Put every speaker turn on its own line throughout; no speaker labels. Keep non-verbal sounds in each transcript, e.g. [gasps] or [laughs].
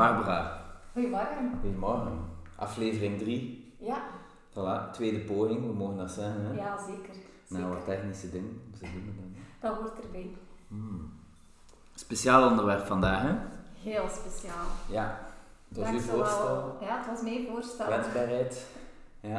Barbara,
Goedemorgen.
goedemorgen. Aflevering 3,
Ja,
voilà, tweede poging, we mogen dat zeggen. Hè?
ja zeker.
nou, wat
zeker.
technische ding. Ze doen het dan.
Dat hoort erbij.
Speciaal onderwerp vandaag, hè?
Heel speciaal.
Ja, dat was
Ja,
uw
ik zou wel-
voorstel.
Ja, het was mijn voorstel.
Kwetsbaarheid. Ja.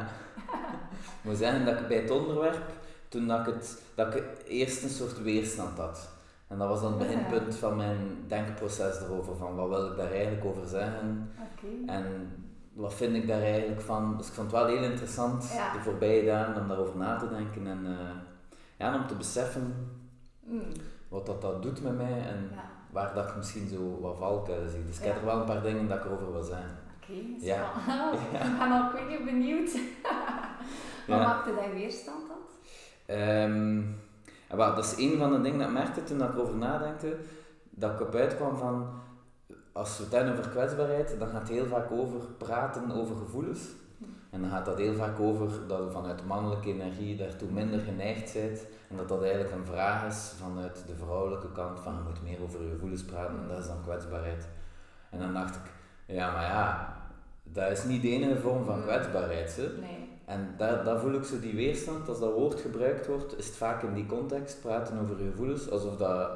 [laughs]
ik moet zeggen dat ik bij het onderwerp, toen dat ik, het, dat ik eerst een soort weerstand had. En dat was
[laughs]
dan het beginpunt van mijn denkproces erover, van wat wil ik daar eigenlijk over zeggen.
Oké.
En wat vind ik daar eigenlijk van? Dus ik vond het wel heel interessant
Ja.
de voorbije dagen om daarover na te denken en, eh, ja, en om te beseffen
Mm,
wat dat, dat doet met mij en
Ja,
waar dat ik misschien zo wat valkuilen zie. Dus ik heb
Ja.
er wel een paar dingen dat ik over wil zeggen.
oké.
Ja. [laughs]
spannend. Ik ben al quick benieuwd. [laughs]
Ja.
Wat maakte dat weerstand dan?
Ehm, en wel, dat is een van de dingen dat ik merkte toen dat ik over nadankte, dat ik op uitkwam van, als we het hebben over kwetsbaarheid, dan gaat het heel vaak over praten over gevoelens. En dan gaat dat heel vaak over dat je vanuit mannelijke energie daartoe minder geneigd bent. En dat dat eigenlijk een vraag is vanuit de vrouwelijke kant, van je moet meer over je gevoelens praten, en dat is dan kwetsbaarheid. En dan dacht ik, ja maar ja, dat is niet de enige vorm van kwetsbaarheid. Hè?
Nee.
En daar, daar voel ik zo die weerstand. Als dat woord gebruikt wordt, is het vaak in die context praten over je gevoelens. Alsof dat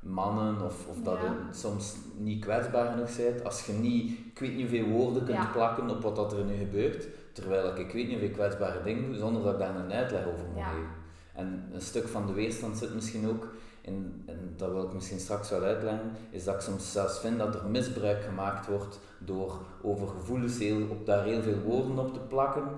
mannen of, of dat
Ja.
je soms niet kwetsbaar genoeg bent. Als je niet, ik weet niet hoeveel woorden kunt
Ja.
plakken op wat dat er nu gebeurt. Terwijl ik, ik weet niet hoeveel kwetsbare dingen doe, zonder dat ik daar een uitleg over moet
Ja.
geven. En een stuk van de weerstand zit misschien ook, in, en dat wil ik misschien straks wel uitleggen, is dat ik soms zelfs vind dat er misbruik gemaakt wordt door over gevoelens heel, op daar heel veel woorden op te plakken.
Mm,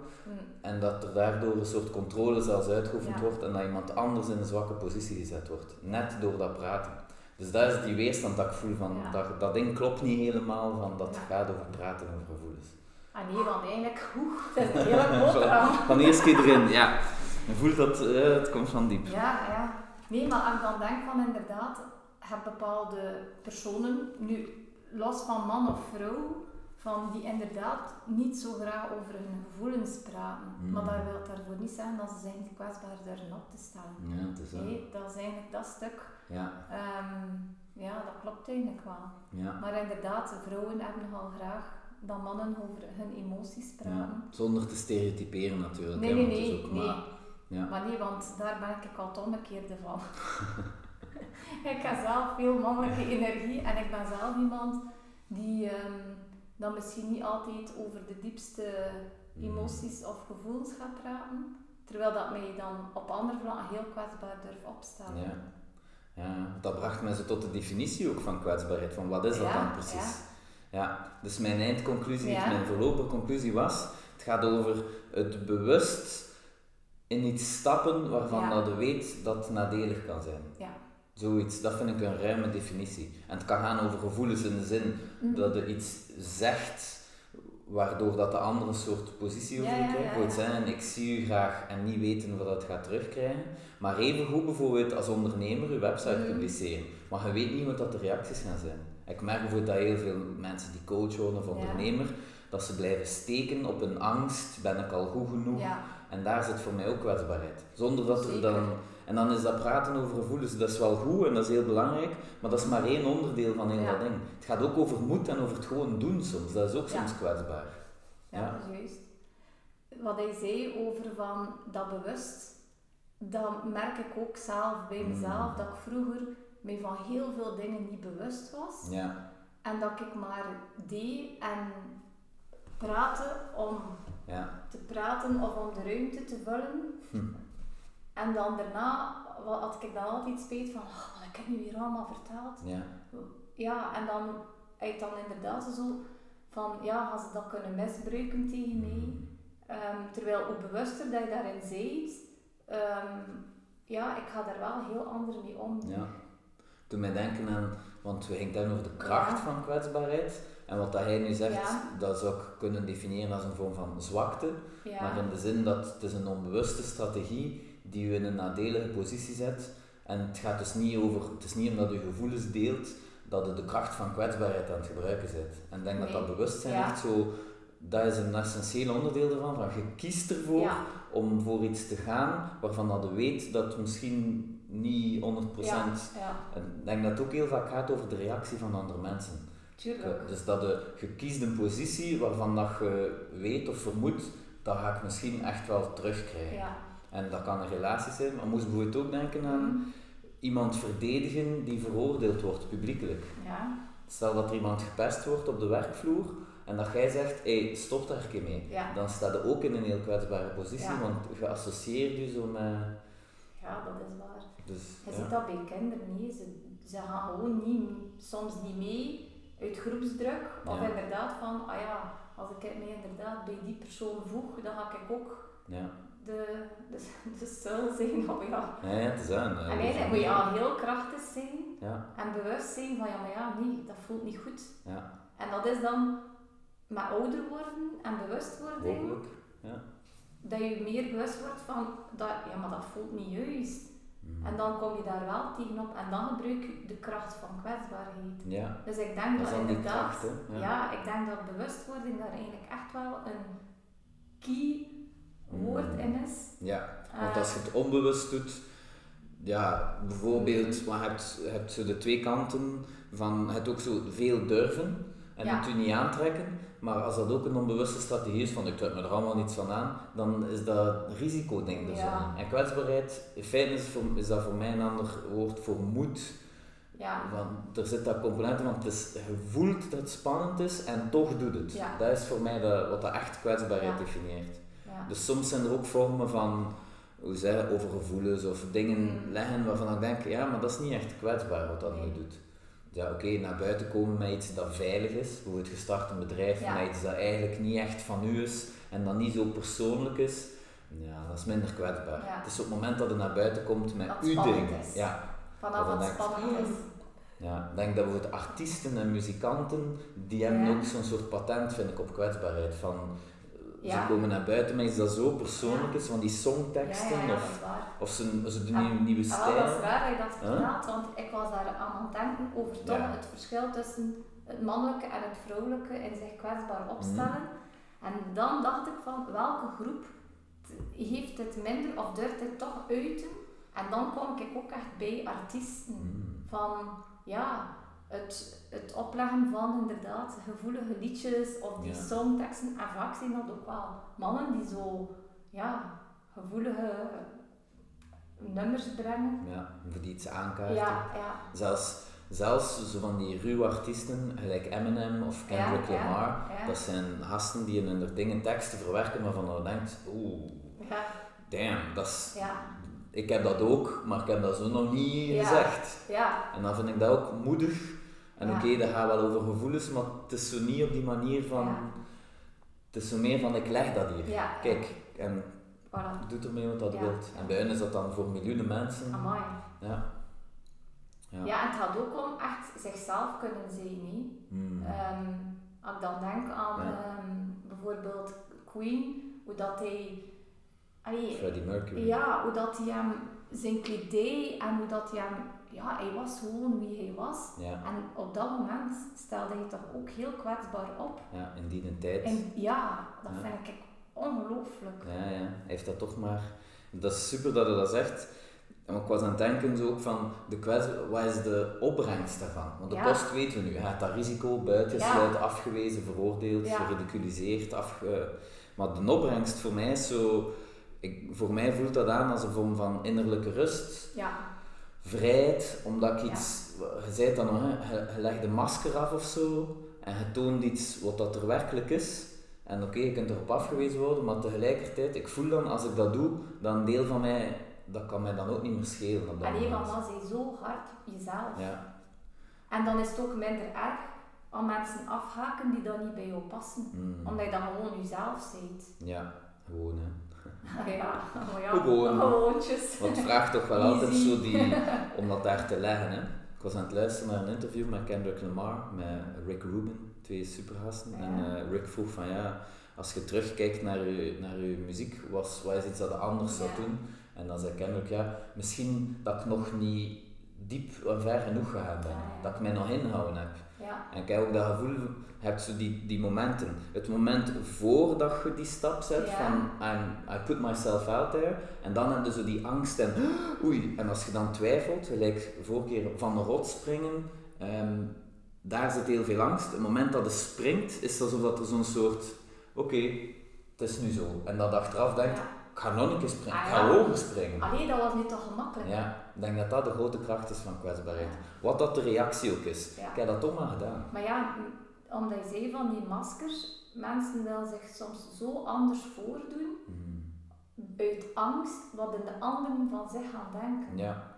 En dat er daardoor een soort controle zelfs uitgeoefend
Ja.
wordt en dat iemand anders in een zwakke positie gezet wordt. Net door dat praten. Dus dat is die weerstand dat ik voel van,
Ja.
dat, dat ding klopt niet helemaal van dat
Ja.
gaat over praten over gevoelens.
Ah nee, want eigenlijk, oeh, dat is een
[laughs]
hele boterham.
Van eerst keer erin, ja. Je voelt dat eh, het komt van diep.
Ja, ja. Nee, maar als ik dan denk van inderdaad, heb bepaalde personen, nu los van man of vrouw, van die inderdaad niet zo graag over hun gevoelens praten.
Hmm.
Maar daar wil het daarvoor niet zeggen dat ze zijn kwetsbaar daarin op te stellen.
Ja, het is wel.
Nee, dat is eigenlijk dat stuk.
Ja,
ehm, ja, dat klopt eigenlijk wel.
ja.
Maar inderdaad, vrouwen hebben nogal graag dat mannen over hun emoties praten.
ja. Zonder te stereotyperen natuurlijk.
Nee,
hè,
nee,
want het is
nee,
ook
nee.
maar- ja.
Maar nee, want daar ben ik al het omgekeerde van. [laughs] ik heb zelf veel mannelijke energie en ik ben zelf iemand die ehm, dan misschien niet altijd over de diepste
Mm.
emoties of gevoelens gaat praten. Terwijl dat mij dan op andere vlakken heel kwetsbaar durft opstellen.
Ja. ja, dat bracht mij zo tot de definitie ook van kwetsbaarheid. Van wat is dat
Ja,
dan precies? Ja. dus mijn eindconclusie,
Ja.
mijn voorlopige conclusie was... Het gaat over het bewust in iets stappen waarvan
Ja.
dat je weet dat het nadelig kan zijn.
Ja.
Zoiets, dat vind ik een ruime definitie. En het kan gaan over gevoelens in de zin
Mhm.
dat je iets zegt waardoor dat de ander een soort positie over
Ja,
je
ja,
krijgt.
ja,
Bijvoorbeeld
ja.
zeggen, ik zie u graag en niet weten wat dat gaat terugkrijgen. Maar even goed bijvoorbeeld als ondernemer je website
Mhm.
publiceren. Maar je weet niet wat dat de reacties gaan zijn. Ik merk bijvoorbeeld dat heel veel mensen die coach worden of
Ja.
ondernemer, dat ze blijven steken op een angst, ben ik al goed genoeg?
Ja.
En daar zit voor mij ook kwetsbaarheid. Zonder dat er
Zeker.
dan... En dan is dat praten over gevoelens, dat is wel goed en dat is heel belangrijk, maar dat is maar één onderdeel van heel
Ja.
dat ding. Het gaat ook over moed en over het gewoon doen soms. Dat is ook
Ja.
soms kwetsbaar.
Ja,
Ja.
juist. Wat hij zei over van dat bewust, dat merk ik ook zelf bij
Mm.
mezelf, dat ik vroeger mij van heel veel dingen niet bewust was.
Ja,
En dat ik maar deed en praatte om
ja,
te praten of om de ruimte te vullen.
Hm.
En dan daarna wa- had ik dan altijd spijt van, "Ah, wat heb ik nu hier allemaal verteld?
ja.
Ja, en dan uit dan inderdaad zo van, ja, gaan ze dat kunnen misbruiken tegen mij?
Mm.
Ehm, terwijl hoe bewuster dat je daarin zit, ehm, ja, ik ga daar wel heel anders mee om.
Ja. Doet mij denken aan, want we gingen het hebben over de kracht
Ja.
van kwetsbaarheid. En wat dat hij nu zegt,
Ja.
dat zou ik kunnen definiëren als een vorm van zwakte.
Ja,
Maar in de zin dat het is een onbewuste strategie die u in een nadelige positie zet. En het gaat dus niet over, het is niet omdat u gevoelens deelt, dat u de kracht van kwetsbaarheid aan het gebruiken zit. En ik denk dat
Nee.
dat bewustzijn
Ja.
echt zo, dat is een essentieel onderdeel ervan, van je kiest ervoor
ja,
om voor iets te gaan waarvan dat je weet dat het misschien niet 100%
ja, ja,
en ik denk dat het ook heel vaak gaat over de reactie van andere mensen.
Tuurlijk.
Dus dat je, je kiest een positie waarvan dat je weet of vermoedt, dat ga ik misschien echt wel terugkrijgen.
Ja.
En dat kan een relatie zijn, maar moest bijvoorbeeld ook denken aan
Mhm.
iemand verdedigen die veroordeeld wordt publiekelijk.
Ja.
Stel dat er iemand gepest wordt op de werkvloer en dat jij zegt, hey, stop daar een keer mee.
Ja.
Dan sta je ook in een heel kwetsbare positie,
Ja.
want je associeert je zo met...
ja, dat is waar.
Dus,
Je
ja.
ziet dat bij kinderen niet. Ze, ze gaan gewoon niet, soms niet mee uit groepsdruk. Of
Ja.
inderdaad van, ah ja, als ik me inderdaad bij die persoon voeg, dan ga ik ook
Ja.
de, de, de stil zijn. Of ja.
Ja, ja, het is aan. eh,
En eigenlijk moet je al heel krachtig zijn
Ja,
en bewust zijn van, ja maar ja, nee, dat voelt niet goed.
ja,
En dat is dan met ouder worden en bewustwording,
hopelijk.
dat je meer bewust wordt van, dat, ja maar dat voelt niet juist.
Mhm.
En dan kom je daar wel tegenop en dan gebruik je de kracht van kwetsbaarheid.
Ja,
Dus ik
dat
denk
is
dat,
dan die
inderdaad,
kracht, hè.
ja. ik denk dat bewustwording daar eigenlijk echt wel een key woord
Mm.
in is.
ja. Want
Eh,
als je het onbewust doet, ja,
Mm.
bijvoorbeeld, maar je hebt, je hebt zo de twee kanten van, je hebt ook zo veel durven en
Ja.
het u niet aantrekken. Maar als dat ook een onbewuste strategie is, van ik trek me er allemaal niets van aan, dan is dat risicoding dus.
Ja.
En kwetsbaarheid, in feite is, voor, is dat voor mij een ander woord voor moed.
ja,
Want er zit dat component in, want het is, je voelt dat het spannend is en toch doet het.
Ja.
Dat is voor mij dat, wat dat echt kwetsbaarheid
Ja.
definieert.
ja,
Dus soms zijn er ook vormen van, hoe zeg je, over gevoelens of dingen
Mm.
leggen waarvan ik denk, ja, maar dat is niet echt kwetsbaar wat dat nu
Nee.
doet. Ja, oké, naar buiten komen met iets dat veilig is, bijvoorbeeld gestart een bedrijf
Ja.
met iets dat eigenlijk niet echt van u is en dat niet zo persoonlijk is, ja, dat is minder kwetsbaar.
Ja.
Het is op het moment dat je naar buiten komt met
Dat
uw
spannend
dingen.
is.
Ja,
vanaf
dat
wat
denk ik.
spannend is.
ja, ik denk dat bijvoorbeeld artiesten en muzikanten, die hebben
Ja.
ook zo'n soort patent, vind ik, op kwetsbaarheid. Van, eh,
Ja.
Ze komen naar buiten met iets dat zo persoonlijk is, van die songteksten,
ja, ja, ja, dat
of,
is waar.
of ze, ze doen
Ja.
een nieuwe
Ah, wel, dat is
stijl.
raar dat je dat
Huh?
vertelt, want ik was daar aan het denken over toch
Ja.
het verschil tussen het mannelijke en het vrouwelijke in zich
Mhm.
kwetsbaar opstellen. En dan dacht ik van welke groep t- heeft dit minder of durft dit toch uiten? En dan kom ik ook echt bij artiesten
Mm.
van ja, het, het opleggen van inderdaad gevoelige liedjes of die
Ja.
songteksten. En vaak zijn dat ook wel mannen die zo ja, gevoelige eh, nummers brengen.
Ja, voor die iets aankaarten.
Ja, ja,
Zelfs, zelfs zo van die ruwe artiesten, gelijk Eminem of Kendrick
Ja, ja,
Lamar,
ja.
dat zijn gasten die in hun dingen teksten verwerken waarvan je denkt, oeh,
ja,
damn, dat is...
ja,
Ik heb dat ook, maar ik heb dat zo nog niet
Ja.
gezegd.
ja,
En dan vind ik dat ook moedig. En
Ja.
oké, dat gaat wel over gevoelens, maar het is zo niet op die manier van...
Ja.
Het is zo meer van, ik leg dat hier.
Ja.
Kijk, en
voilà.
doet ermee wat dat
Ja.
wilt. En bij hen is dat dan voor miljoenen mensen.
Amai.
Ja. Ja.
Ja. het gaat ook om echt zichzelf kunnen zijn. hè.
Hmm.
Ehm, als ik dan denk aan
Ja.
ehm, bijvoorbeeld Queen, hoe dat hij. allee,
Freddie Mercury.
Ja, hoe dat hij hem zijn kledij en hoe dat hij hem... Ja, hij was gewoon wie hij was.
Ja,
En op dat moment stelde hij toch ook heel kwetsbaar op.
ja, in die tijd.
En ja, dat
Ja.
vind ik ongelooflijk.
Ja, ja. Hij heeft dat toch maar... Dat is super dat hij dat zegt. Maar ik was aan het denken zo ook van, de kwets, wat is de opbrengst daarvan? Want de
Ja.
kost weten we nu. Je hebt dat risico buitengesloten, afgewezen, veroordeeld,
Ja.
geridiculiseerd. Afge... Maar de opbrengst voor mij is zo... Ik, voor mij voelt dat aan als een vorm van innerlijke rust,
Ja,
vrijheid, omdat ik
Ja.
iets... Je zei het dan nog, hè, je, je legt de masker af of zo, en je toont iets wat dat er werkelijk is. En oké, je kunt erop afgewezen worden, maar tegelijkertijd, ik voel dan, als ik dat doe, dan een deel van mij, dat kan mij dan ook niet meer schelen op dat
alleen
moment.
want dan zijn zo hard op jezelf.
Ja,
En dan is het ook minder erg om mensen afhaken die dan niet bij jou passen.
mm,
Omdat je dan gewoon jezelf bent.
[laughs] ja gewoon hè.
Ja, maar ja, Oh,
Gewoon.
gewoontjes.
[laughs] Want het vraagt toch wel altijd
Easy. [laughs]
zo die, om dat daar te leggen hè. Ik was aan het luisteren naar een interview met Kendrick Lamar, met Rick Rubin, twee supergasten. En
Ja.
eh, Rick vroeg van ja, als je terugkijkt naar je, naar je muziek, was, wat is iets dat je anders zou
Ja.
doen? En dan zei Kendrick ja, misschien dat ik nog niet diep en ver genoeg gegaan ben.
Ah, ja.
Dat ik mij nog inhouden heb.
Ja,
En kijk ook dat gevoel, je hebt zo die, die momenten. Het moment voordat je die stap zet
Ja.
van I'm, I put myself out there. En dan heb je zo die angst en [gasps] oei. En als je dan twijfelt, gelijk vorige keer van de rots springen, ehm, daar zit heel veel angst. Het moment dat het springt, is het alsof dat er zo'n soort, oké, het is nu zo. En dat achteraf denkt,
Ja.
ik ga nog een keer springen, ik
Ah,
ga
ja.
hoger springen.
Allee, dat was niet toch gemakkelijk?
Ja, ik denk dat dat de grote kracht is van kwetsbaarheid. Wat dat de reactie ook is.
Ja.
Ik heb dat toch maar gedaan.
Maar ja, m- omdat je zei van die maskers, mensen willen zich soms zo anders voordoen uit angst wat in de anderen van zich gaan denken.
Ja,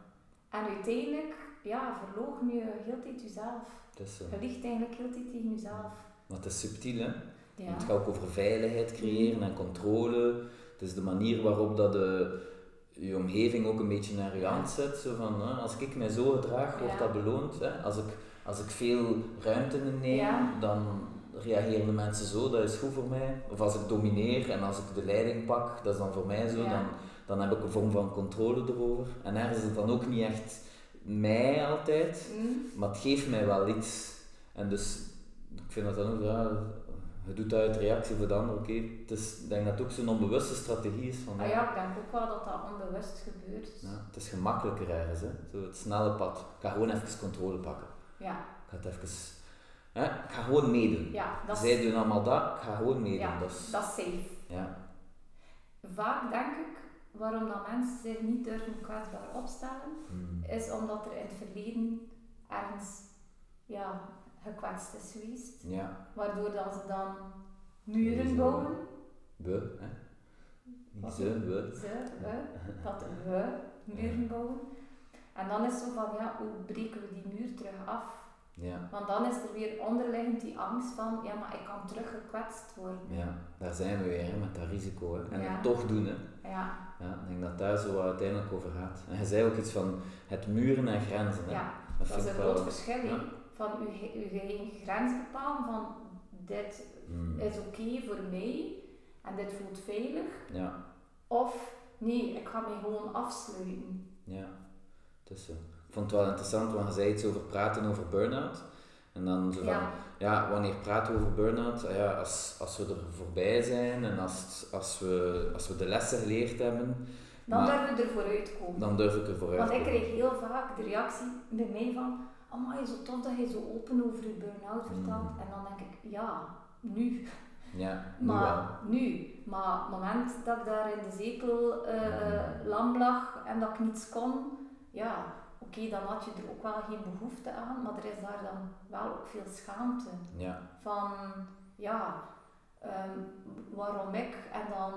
En uiteindelijk, ja, verloog je heel de tijd jezelf.
het is zo.
Je ligt eigenlijk heel de tijd tegen jezelf.
Maar het is subtiel, hè.
Ja.
Het gaat ook over veiligheid creëren en controle. Het is de manier waarop dat de, je omgeving ook een beetje naar je hand zet. Zo van, hè, als ik mij zo gedraag, wordt
Ja.
dat beloond. Hè? Als, ik, als ik veel ruimte neem,
Ja.
dan reageren de mensen zo, dat is goed voor mij. Of als ik domineer en als ik de leiding pak, dat is dan voor mij zo.
Ja.
Dan, dan heb ik een vorm van controle erover. En daar is het dan ook niet echt mij altijd.
Mm.
Maar het geeft mij wel iets. En dus, ik vind dat dan ook, ja, je doet dat uit reactie voor de ander, oké. Het is- Ik denk dat het ook zo'n onbewuste strategie is. Van,
Maar Ah, ja, ik denk ook wel dat dat onbewust gebeurt.
ja, het is gemakkelijker ergens, hè. Zo het snelle pad. Ik ga gewoon even controle pakken.
Ja,
Ik ga het even... Hè? Ik ga gewoon meedoen.
ja dat is
Zij doen allemaal dat, ik ga gewoon meedoen.
Ja,
dat is,
dat is safe.
ja.
Vaak denk ik waarom dat mensen zich niet durven kwetsbaar opstellen,
Hmm.
is omdat er in het verleden ergens ja, gekwetst is geweest.
ja,
Waardoor dat ze dan muren bouwen.
we, hè. Niet
Wat?
ze, we.
Ze, we, dat we muren bouwen. En dan is het zo van, ja, hoe breken we die muur terug af?
Ja,
Want dan is er weer onderliggend die angst van, ja, maar ik kan terug gekwetst worden.
ja, daar zijn we weer, hè, met dat risico. Hè. En
Ja.
het toch doen, hè.
Ja,
Ja, ik denk dat daar zo wat uiteindelijk over gaat. En hij zei ook iets van het muren en grenzen. Hè?
ja.
dat
Dat
vind
is
ik
een
wel.
groot verschil, hè.
ja.
Van uw, ge- uw eigen grens bepalen, van dit
Hmm.
is oké voor mij en dit voelt veilig.
Ja,
Of, nee, ik ga mij gewoon afsluiten.
ja. Het is zo. Ik vond het wel interessant, want hij zei iets over praten over burn-out. En dan zo van, ja,
Ja,
wanneer praten we over burn-out? Ah Ja, als, als we er voorbij zijn en als, als, we, als we de lessen geleerd hebben,
dan
Maar-
durven we er vooruit komen.
dan durf ik er vooruit.
Want ik
te komen.
kreeg heel vaak de reactie bij mij van, amai, zo tof dat je zo open over je burn-out
Hmm.
vertelt. En dan denk ik, ja, nu.
Ja, nu wel.
Maar nu. Maar het moment dat ik daar in de zetel
Hmm.
eh eh, lam lag en dat ik niets kon, ja, oké, dan had je er ook wel geen behoefte aan, maar er is daar dan wel ook veel schaamte.
Ja,
Van, ja, ehm, waarom ik? En dan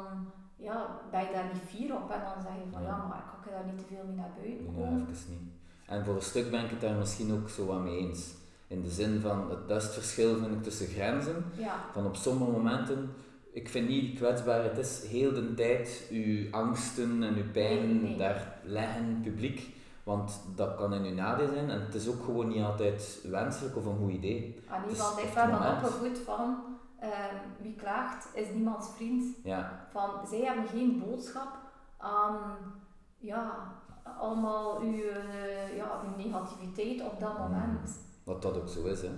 ja, ben je daar niet fier op en dan zeg je van,
Ja.
ja, maar ik kan daar niet te veel mee naar buiten
nu
komen.
nou even niet. En voor een stuk ben ik het daar misschien ook zo wat mee eens. In de zin van, het, dat is het verschil vind ik tussen grenzen
Ja,
van op sommige momenten, ik vind niet kwetsbaar, het is heel de tijd uw angsten en uw pijn
Nee, nee.
daar leggen publiek, want dat kan in uw nadeel zijn en het is ook gewoon niet altijd wenselijk of een goed idee.
en
Dus
iemand
op het
heeft daar dan
moment-
opgevoed van ehm, wie klaagt is niemands vriend.
Ja,
Van zij hebben geen boodschap aan ja, allemaal uw, eh, ja, uw negativiteit op dat
Mm.
moment.
wat dat ook zo is, hè.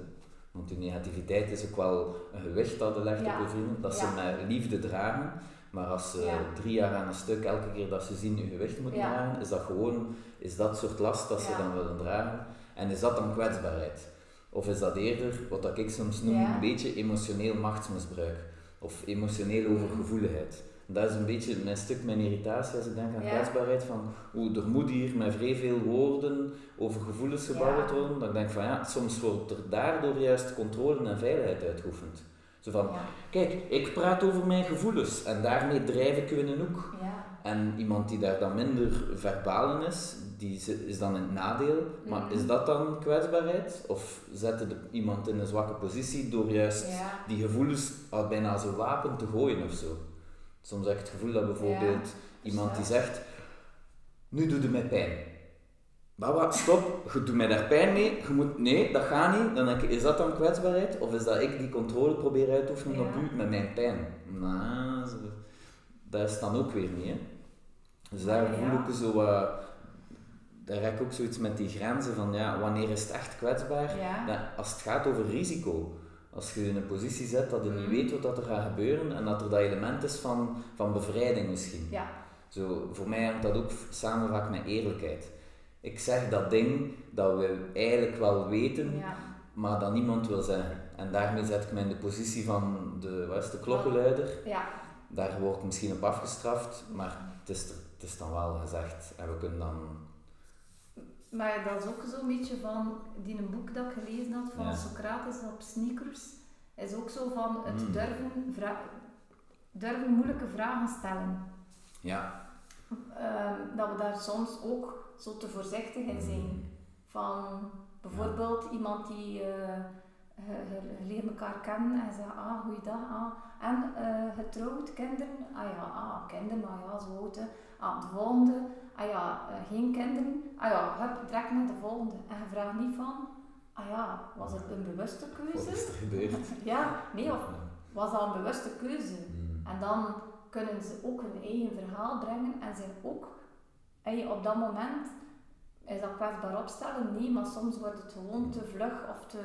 Want uw negativiteit is ook wel een gewicht dat je legt
Ja.
op je vrienden, dat ze
Ja.
met liefde dragen, maar als ze
Ja.
drie jaar aan een stuk elke keer dat ze zien je gewicht moeten
Ja.
dragen, is dat gewoon, is dat soort last dat ze
Ja.
dan willen dragen. En is dat dan kwetsbaarheid? Of is dat eerder wat dat ik soms noem
Ja.
een beetje emotioneel machtsmisbruik? Of emotioneel
Mm.
overgevoeligheid? Dat is een beetje mijn stuk mijn irritatie als ik denk aan
Ja.
kwetsbaarheid. Van, oeh, er moet hier met vrij veel woorden over gevoelens gebabbeld
Ja.
worden. Dan denk ik van ja, soms wordt er daardoor juist controle en veiligheid uitgeoefend. Zo van,
Ja,
kijk, ik praat over mijn gevoelens en daarmee drijf ik u in een hoek.
ja,
En iemand die daar dan minder verbaal in is, die zi- is dan in het nadeel. Maar
Mhm.
is dat dan kwetsbaarheid? Of zetten de, iemand in een zwakke positie door juist
ja.
die gevoelens al bijna als een wapen te gooien of zo? Soms heb ik het gevoel dat bijvoorbeeld iemand die
Ja.
zegt: Nu doet het mij pijn. Baba, stop, je doet mij daar pijn mee. Je moet, nee, dat gaat niet. Dan denk ik, is dat dan kwetsbaarheid? Of is dat ik die controle probeer uit te oefenen
Ja.
op u met mijn pijn? Nou, zo- dat is dan ook weer niet. Hè? Dus daar
Ah, Ja.
voel ik zo. eh, daar heb ik ook zoiets met die grenzen van ja, wanneer is het echt kwetsbaar?
Ja.
Ja, als het gaat over risico, als je je in een positie zet dat je niet
Mhm.
weet wat dat er gaat gebeuren en dat er dat element is van, van bevrijding misschien.
Ja.
Zo, voor mij hangt dat ook f- samen vaak met eerlijkheid. Ik zeg dat ding dat we eigenlijk wel weten,
Ja.
maar dat niemand wil zeggen. En daarmee zet ik mij in de positie van de, wat is het, de klokkenluider.
Ja,
Daar word ik misschien op afgestraft, maar het is, er- het is dan wel gezegd. En we kunnen dan...
maar dat is ook zo'n beetje van die een boek dat ik gelezen had van
Ja.
Socrates op sneakers. Is ook zo van het
Mm.
durven, vra- durven moeilijke vragen stellen.
Ja.
Ehm, dat we daar soms ook zo te voorzichtig
mm, Hmm.
in zijn. Van bijvoorbeeld iemand die eh je- je- je leert elkaar kennen en zegt ah, goeiedag, ah. En eh, getrouwd, kinderen, ah ja, ah, kinderen, maar ja, zo oud, hè. Ah, de volgende, ah ja, eh, geen kinderen, ah ja, hup, trek naar de volgende. En je vraagt niet van, ah ja, was het een bewuste
Wat
keuze?
is er gebeurd?
[laughs] Ja, nee, of
Ja.
was dat een bewuste keuze?
Mm.
En dan kunnen ze ook hun eigen verhaal brengen en zijn ook hey, op dat moment is dat kwetsbaar opstellen. Nee, maar soms wordt het gewoon te vlug of te.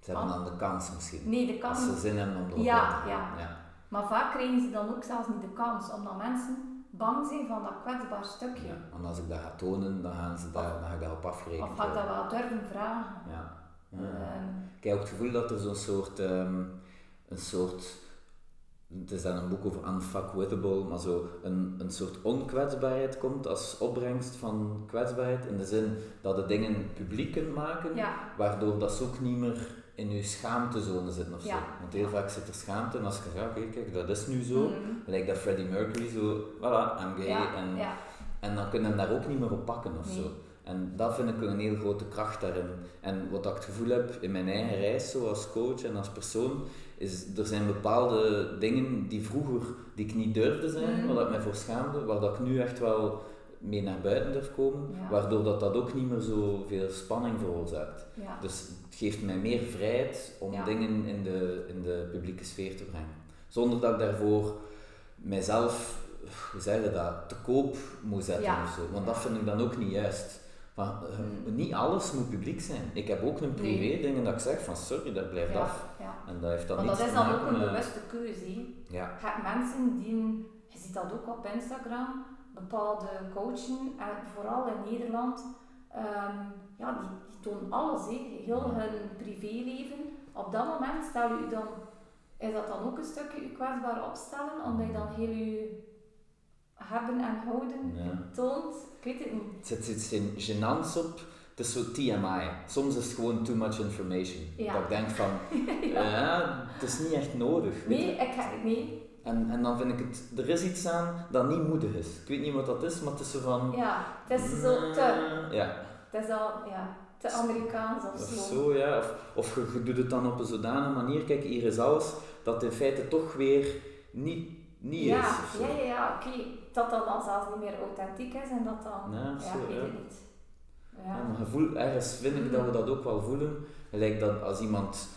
Ze hebben dan de kans misschien.
Ah. Nee, de kans.
Als ze zin hebben om erop
Ja,
in te gaan.
ja.
ja.
Maar vaak krijgen ze dan ook zelfs niet de kans, omdat mensen bang zijn van dat kwetsbaar stukje.
Ja. Want als ik dat ga tonen, dan, gaan ze daar, dan ga ik daarop afgerekend
Of ga ik dat
worden.
wel durven vragen?
Ja. Ja.
Ehm,
Ik heb ook het gevoel dat er zo'n soort, ehm, een soort, het is dan een boek over unfuckwithable, maar zo een, een soort onkwetsbaarheid komt als opbrengst van kwetsbaarheid. In de zin dat de dingen publiek kunt maken,
ja,
waardoor dat ze ook niet meer in je schaamtezone zitten of zo.
Ja.
Want heel vaak zit er schaamte en als je zegt, oké, kijk, dat is nu zo.
mm,
Lijkt dat Freddie Mercury zo, voilà, I'm gay.
ja,
en,
ja,
en dan kunnen we hem daar ook niet meer op pakken of
Nee.
zo. En dat vind ik een heel grote kracht daarin. En wat ik het gevoel heb in mijn eigen reis, zo als coach en als persoon, is er zijn bepaalde dingen die vroeger, die ik niet durfde zijn,
Mm.
waar ik mij voor schaamde, waar dat ik nu echt wel mee naar buiten durf komen,
Ja.
waardoor dat, dat ook niet meer zoveel spanning veroorzaakt.
ja.
Dus het geeft mij meer vrijheid om
Ja.
dingen in de, in de publieke sfeer te brengen. Zonder dat ik daarvoor mijzelf, hoe zeg je dat, te koop moet zetten
Ja.
of zo. Want dat vind ik dan ook niet juist. Maar, eh,
Hmm.
Niet alles moet publiek zijn. Ik heb ook een privé
Nee.
dingen dat ik zeg van sorry, dat blijft
ja,
af.
ja.
En dat heeft dan
Want
niets
dat
te
is dan
maken
ook een
met-
bewuste keuze. hè.
Ja,
Je hebt mensen die, je ziet dat ook op Instagram, bepaalde coachen, en vooral in Nederland, ehm, ja, die, die tonen alles, hè. heel hun privéleven. Op dat moment stel je dan, is dat dan ook een stukje je kwetsbaar opstellen, omdat je dan heel je hebben en houden
ja.
toont? Ik weet het niet.
Het zit, zit geen genants op. Het is zo TMI. Soms is het gewoon too much information.
Ja.
Dat ik denk
[laughs]
van, ja. het is niet echt nodig. weet je.
Nee, ik, ga- nee,
En, en dan vind ik het, er is iets aan dat niet moedig is. Ik weet niet wat dat is, maar het is zo van. Mm,
ja, het is zo te,
Ja,
het is al, ja, te Amerikaans of
of
zo.
zo ja. Of, of je, je doet het dan op een zodanige manier, kijk hier is alles, dat in feite toch weer niet, niet
ja,
is. Of zo.
ja, ja, ja, oké. Dat dat dan zelfs niet meer authentiek is en dat dan...
Ja,
Ja,
zo,
ik weet
ja.
het niet.
Ja,
Ja. Mm.
maar gevoel, ergens vind ik dat we dat ook wel voelen. Gelijk dat als iemand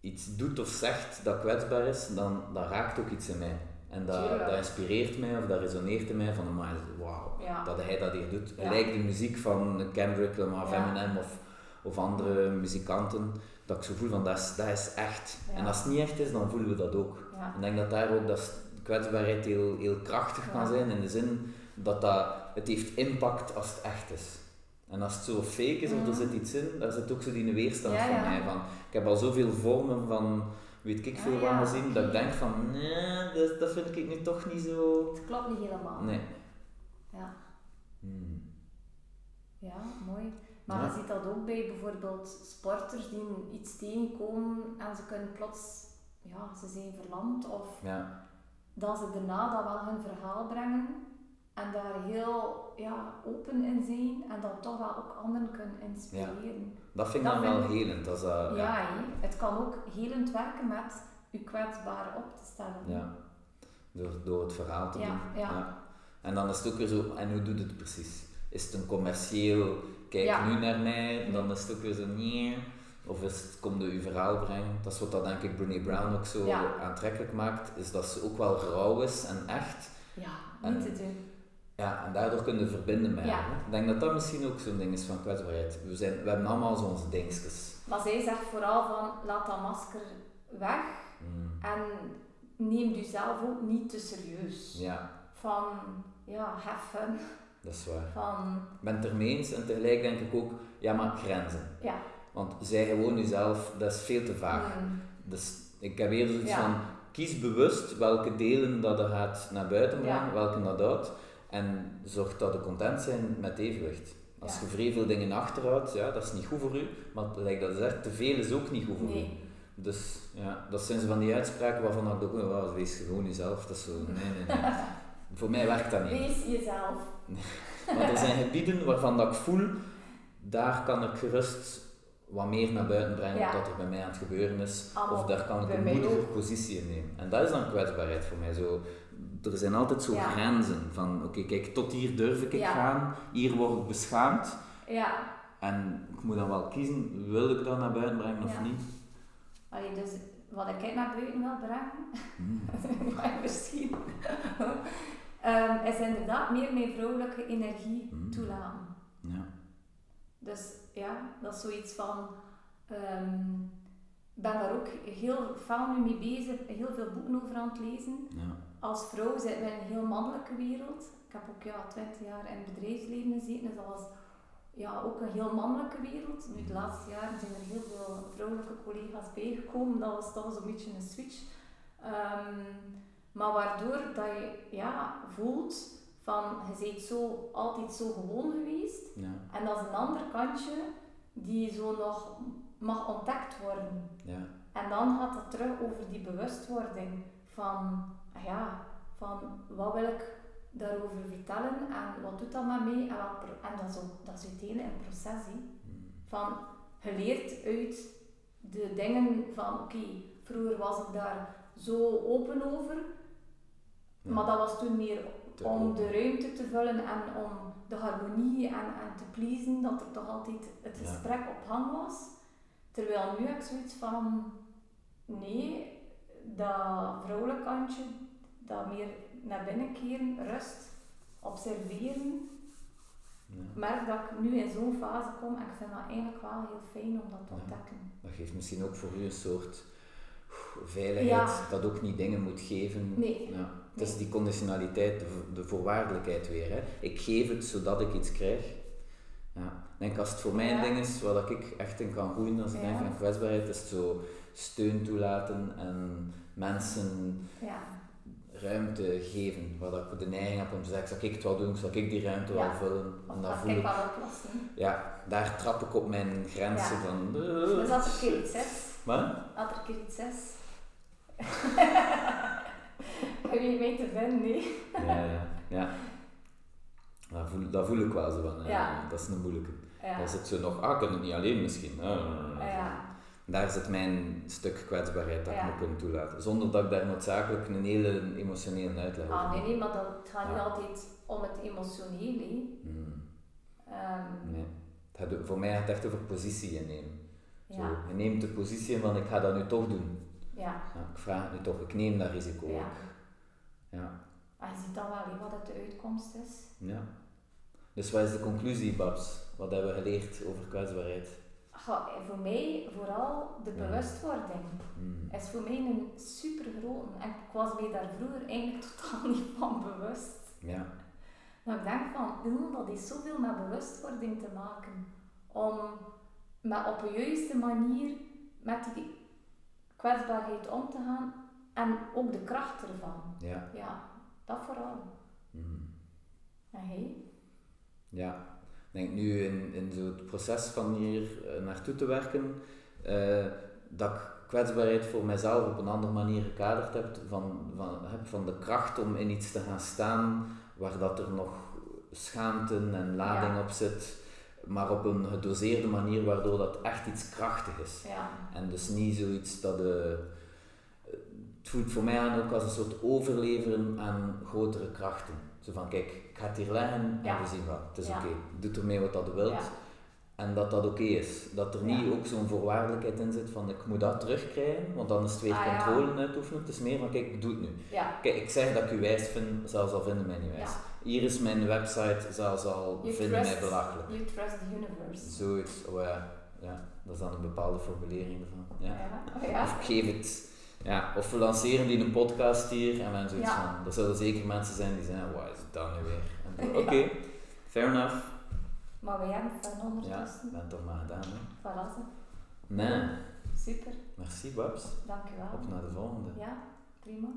iets doet of zegt dat kwetsbaar is, dan dat raakt ook iets in mij. En dat,
Tuurlijk.
dat inspireert mij of dat resoneert in mij van, maar wauw,
Ja.
dat hij dat hier doet.
Ja.
Gelijk de muziek van Kendrick Lamar of
Ja.
Eminem of, of andere muzikanten, dat ik zo voel van, dat is, dat is echt.
Ja.
En als het niet echt is, dan voelen we dat ook.
Ja.
Ik denk dat daar ook dat kwetsbaarheid heel, heel krachtig kan
Ja.
zijn in de zin dat, dat het heeft impact als het echt is. En als het zo fake is of
Mhm.
er zit iets in, daar zit ook zo die weerstand
Ja,
van
ja.
mij. Van, ik heb al zoveel vormen van weet ik
Ah,
veel
ja,
wat gezien, dat ik
oké.
denk van nee, dat, dat vind ik nu toch niet zo.
Het klopt niet helemaal.
Nee.
Ja.
Hmm.
ja, mooi. Maar
Ja.
je ziet dat ook bij bijvoorbeeld sporters die iets tegenkomen en ze kunnen plots... Ja, ze zijn verlamd of
Ja.
dat ze daarna dan wel hun verhaal brengen en daar heel ja, open in zijn en dan toch wel ook anderen kunnen inspireren.
Dat vind ik
Dat
dan wel
vind
helend. Als dat,
Ja, hè. het kan ook helend werken met je kwetsbaar op te stellen.
Ja. Door, door het verhaal te
Ja,
doen.
ja.
En dan is het ook weer zo, en hoe doet het precies? Is het een commercieel, kijk
Ja.
nu naar mij, dan is het ook weer zo, nee. Of is het, kom je uw verhaal brengen? Dat is wat dat denk ik Brene Brown ook zo
Ja.
aantrekkelijk maakt, is dat ze ook wel rauw is en echt.
Ja,
En-
niet te doen.
Ja, en daardoor kunnen we verbinden met
Ja.
elkaar. Ik denk dat dat misschien ook zo'n ding is van kwetsbaarheid. We, zijn, we hebben allemaal zo onze dingetjes.
Maar zij zegt vooral van, laat dat masker weg
Hmm.
en neem jezelf ook niet te serieus.
Ja,
Van, ja, heffen,
dat is waar.
van,
Ik ben het ermee eens en tegelijk denk ik ook, ja maar grenzen.
ja,
Want zij gewoon jezelf, dat is veel te vaag.
Mm.
Dus ik heb eerder zoiets
Ja.
van, kies bewust welke delen dat je gaat naar buiten brengen,
Ja.
welke dat houdt. En zorg dat je content zijn met evenwicht. Als
Ja.
je vrij veel dingen achterhoudt, ja, dat is niet goed voor u. Maar like dat zegt, te veel is ook niet goed voor u.
Nee.
Dus ja, dat zijn zo van die uitspraken waarvan ik ook, wauw, wees gewoon jezelf. Dat is zo, nee, nee,
[laughs]
nee. voor mij werkt dat niet.
Wees jezelf.
Maar er
[laughs]
zijn gebieden waarvan dat ik voel, daar kan ik gerust wat meer naar buiten brengen
Ja.
dat er bij mij aan het gebeuren is.
Allemaal
of daar kan ik
bij
een
mij
moedige
ook.
positie in nemen. En dat is dan kwetsbaarheid voor mij. Zo, er zijn altijd zo
Ja.
grenzen van, oké, kijk, tot hier durf ik
Ja.
gaan, hier word ik beschaamd.
Ja.
En ik moet dan wel kiezen, wil ik dat naar buiten brengen of
Ja.
niet?
Allee, dus wat ik naar buiten wil brengen, [laughs]
Hmm.
maar misschien, [laughs] Ehm, is inderdaad meer mijn vrouwelijke energie
Mm.
toelaten.
Ja.
Dus ja, dat is zoiets van. ehm, Ik ben daar ook heel fel nu mee bezig, heel veel boeken over aan het lezen.
Ja.
Als vrouw zitten we in een heel mannelijke wereld. Ik heb ook ja, 20 jaar in het bedrijfsleven gezeten, dus dat was ja, ook een heel mannelijke wereld. Nu, de laatste jaren zijn er heel veel vrouwelijke collega's bijgekomen. Dat was toch zo'n beetje een switch. Ehm, maar waardoor dat je ja, voelt van je bent zo, altijd zo gewoon geweest.
Ja.
En dat is een ander kantje die zo nog mag ontdekt worden.
Ja.
En dan gaat het terug over die bewustwording van, ah ja, van wat wil ik daarover vertellen en wat doet dat met mij en, wat pro- en dat, is ook, dat is uiteindelijk een proces. hè.
Hmm.
Van geleerd uit de dingen van, oké, vroeger was ik daar zo open over,
Ja.
maar dat was toen meer
Te
om
open.
de ruimte te vullen en om de harmonie en, en te pleasen, dat er toch altijd het
Ja.
gesprek op gang was. Terwijl nu heb ik zoiets van, nee, dat vrouwelijk kantje, dat meer naar binnen keren, rust, observeren.
Ja.
Ik merk dat ik nu in zo'n fase kom en ik vind dat eigenlijk wel heel fijn om dat te
Ja.
ontdekken.
Dat geeft misschien ook voor u een soort oeh, veiligheid,
Ja.
dat ook niet dingen moet geven.
Nee.
Ja. Het is die conditionaliteit, de, vo- de voorwaardelijkheid weer. Hè. Ik geef het zodat ik iets krijg. Ja. Ik denk als het voor mij
Ja.
een ding is waar ik echt in kan groeien, als ik
Ja.
denk van kwetsbaarheid, is het zo steun toelaten en mensen
Ja,
ruimte geven. Waar dat ik de neiging heb om te zeggen, zal ik het wel doen, zal ik die ruimte
Ja.
wel vullen. En dan
dat
voel
kan ik
ik,
wel oplossen.
ja, daar trap ik op mijn grenzen
Ja.
van...
Dus als er keer iets is,
Maar?
Had er keer iets
[laughs]
is. [laughs] Heb je mee te vinden? Nee.
ja, ja. Eh, ja. Dat, voel, dat voel ik wel zo van. hè.
Ja.
Dat is een moeilijke.
Ja.
Dan zit zo nog, ah, ik kan het niet alleen misschien. Ah,
ja.
Daar zit mijn stuk kwetsbaarheid dat
Ja.
ik me kan toelaten. Zonder dat ik daar noodzakelijk een hele emotionele uitleg over
Ah, nee,
heb.
nee, maar dat, het gaat niet
Ja.
altijd om het emotionele. hè.
Hmm,
Ehm,
nee. Het gaat- voor mij gaat het echt over positie innemen.
ja.
Zo, je neemt de positie in van ik ga dat nu toch doen.
ja.
Ja, ik vraag het nu toch, ik neem dat risico.
Ja.
ook. Ja.
En je ziet dan wel hè, wat het de uitkomst is.
Ja. Dus wat is de conclusie, Babs? Wat hebben we geleerd over kwetsbaarheid?
Goh, en eh, voor mij, vooral de
Ja.
bewustwording,
Hmm.
is voor mij een supergrote. En ik was mij daar vroeger eigenlijk [laughs] totaal niet van bewust.
Ja.
Maar ik denk van, "Oeh, dat heeft zoveel met bewustwording te maken. Om met op de juiste manier met die kwetsbaarheid om te gaan en ook de kracht ervan.
Ja.
Ja, dat vooral.
Mhm.
En jij?
Ja. Ik denk nu in, in zo het proces van hier eh, naartoe te werken, eh, dat ik kwetsbaarheid voor mezelf op een andere manier gekaderd heb van, van, heb van de kracht om in iets te gaan staan waar dat er nog schaamte en lading
Ja.
op zit, maar op een gedoseerde manier waardoor dat echt iets krachtig is.
Ja.
En dus niet zoiets dat... eh, het voelt voor mij aan ook als een soort overleveren aan grotere krachten. Zo van, kijk, ik ga het hier leggen
Ja.
en we zien wel. Het is
Ja.
oké. Doe ermee wat dat wilt.
Ja.
En dat dat oké is. Dat er
Ja.
niet ook zo'n voorwaardelijkheid in zit van, ik moet dat terugkrijgen, want dan is het weer
Ah, ja.
controle uitoefenen. Het is meer van, kijk, ik doe het nu.
ja.
Kijk, ik zeg dat ik u wijs vind, zelfs al vinden mij niet wijs. Hier is mijn website, zelfs al
You
vinden mij
trust-
belachelijk.
You trust the universe.
Zoiets, oh ja. ja. Dat is dan een bepaalde formulering ervan. Ja.
Ja. ja.
Of geef het. Ja, of we lanceren die een podcast hier en mensen zoiets
Ja.
van. Er zullen zeker mensen zijn die zeggen, wat is het dan nu weer? En dan,
[laughs] Ja.
Oké, fair enough.
Maar we hebben het dan
Ja,
ondertussen.
ben het toch maar gedaan. Hè.
Voilà. ze.
Nee.
Super,
Merci, Babs.
dankjewel.
Op naar de volgende.
Ja, prima.